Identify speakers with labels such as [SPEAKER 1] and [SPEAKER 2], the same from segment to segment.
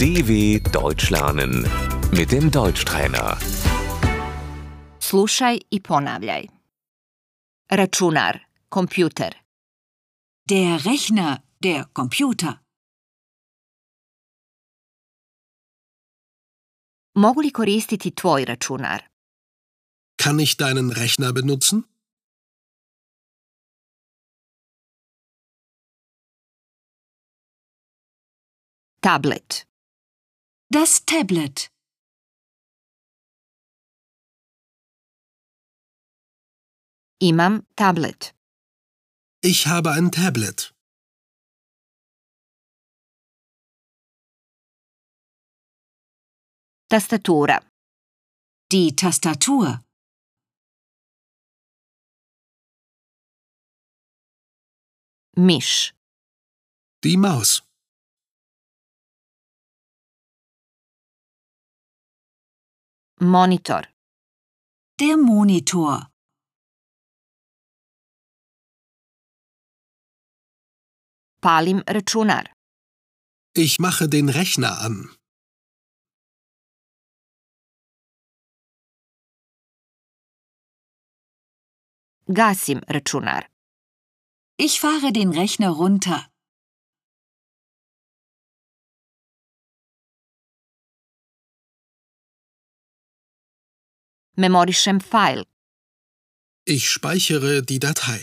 [SPEAKER 1] DW Deutsch lernen mit dem Deutschtrainer.
[SPEAKER 2] Slušaj i ponavljaj. Računar, kompjuter,
[SPEAKER 3] Der Rechner, der Computer.
[SPEAKER 2] mogu li koristiti tvoj računar?
[SPEAKER 4] Kann ich deinen Rechner benutzen?
[SPEAKER 2] Tablet,
[SPEAKER 3] Das Tablet.
[SPEAKER 2] imam tablet,
[SPEAKER 4] Ich habe ein Tablet.
[SPEAKER 2] tastatura,
[SPEAKER 3] Die Tastatur.
[SPEAKER 2] miš,
[SPEAKER 4] Die Maus.
[SPEAKER 2] monitor,
[SPEAKER 3] Der Monitor.
[SPEAKER 2] palim računar,
[SPEAKER 4] Ich mache den Rechner an.
[SPEAKER 2] gasim računar,
[SPEAKER 3] Ich fahre den Rechner runter.
[SPEAKER 2] memorišem fajl,
[SPEAKER 4] Ich speichere die Datei.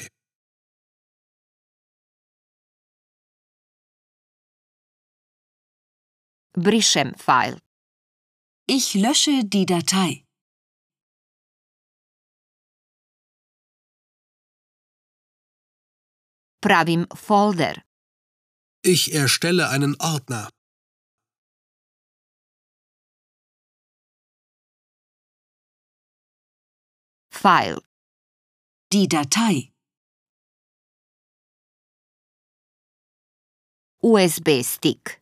[SPEAKER 2] brišem fajl,
[SPEAKER 3] Ich lösche die Datei.
[SPEAKER 2] pravim folder,
[SPEAKER 4] Ich erstelle einen Ordner.
[SPEAKER 2] fajl,
[SPEAKER 3] Die Datei.
[SPEAKER 2] USB stick,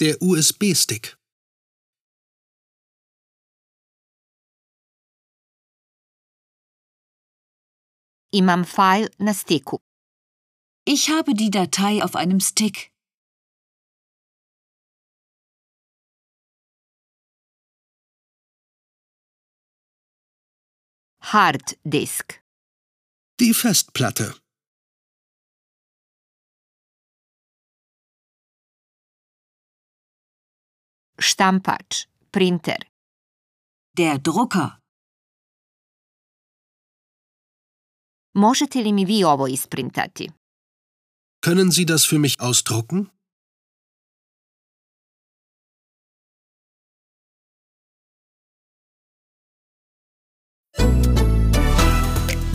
[SPEAKER 4] Der USB-Stick.
[SPEAKER 2] imam fajl na stiku,
[SPEAKER 3] Ich habe die Datei auf einem Stick.
[SPEAKER 2] hard disk,
[SPEAKER 4] Die Festplatte.
[SPEAKER 2] štampač, printer,
[SPEAKER 3] Der Drucker.
[SPEAKER 2] možete li mi vi ovo isprintati?
[SPEAKER 4] Können Sie das für mich ausdrucken?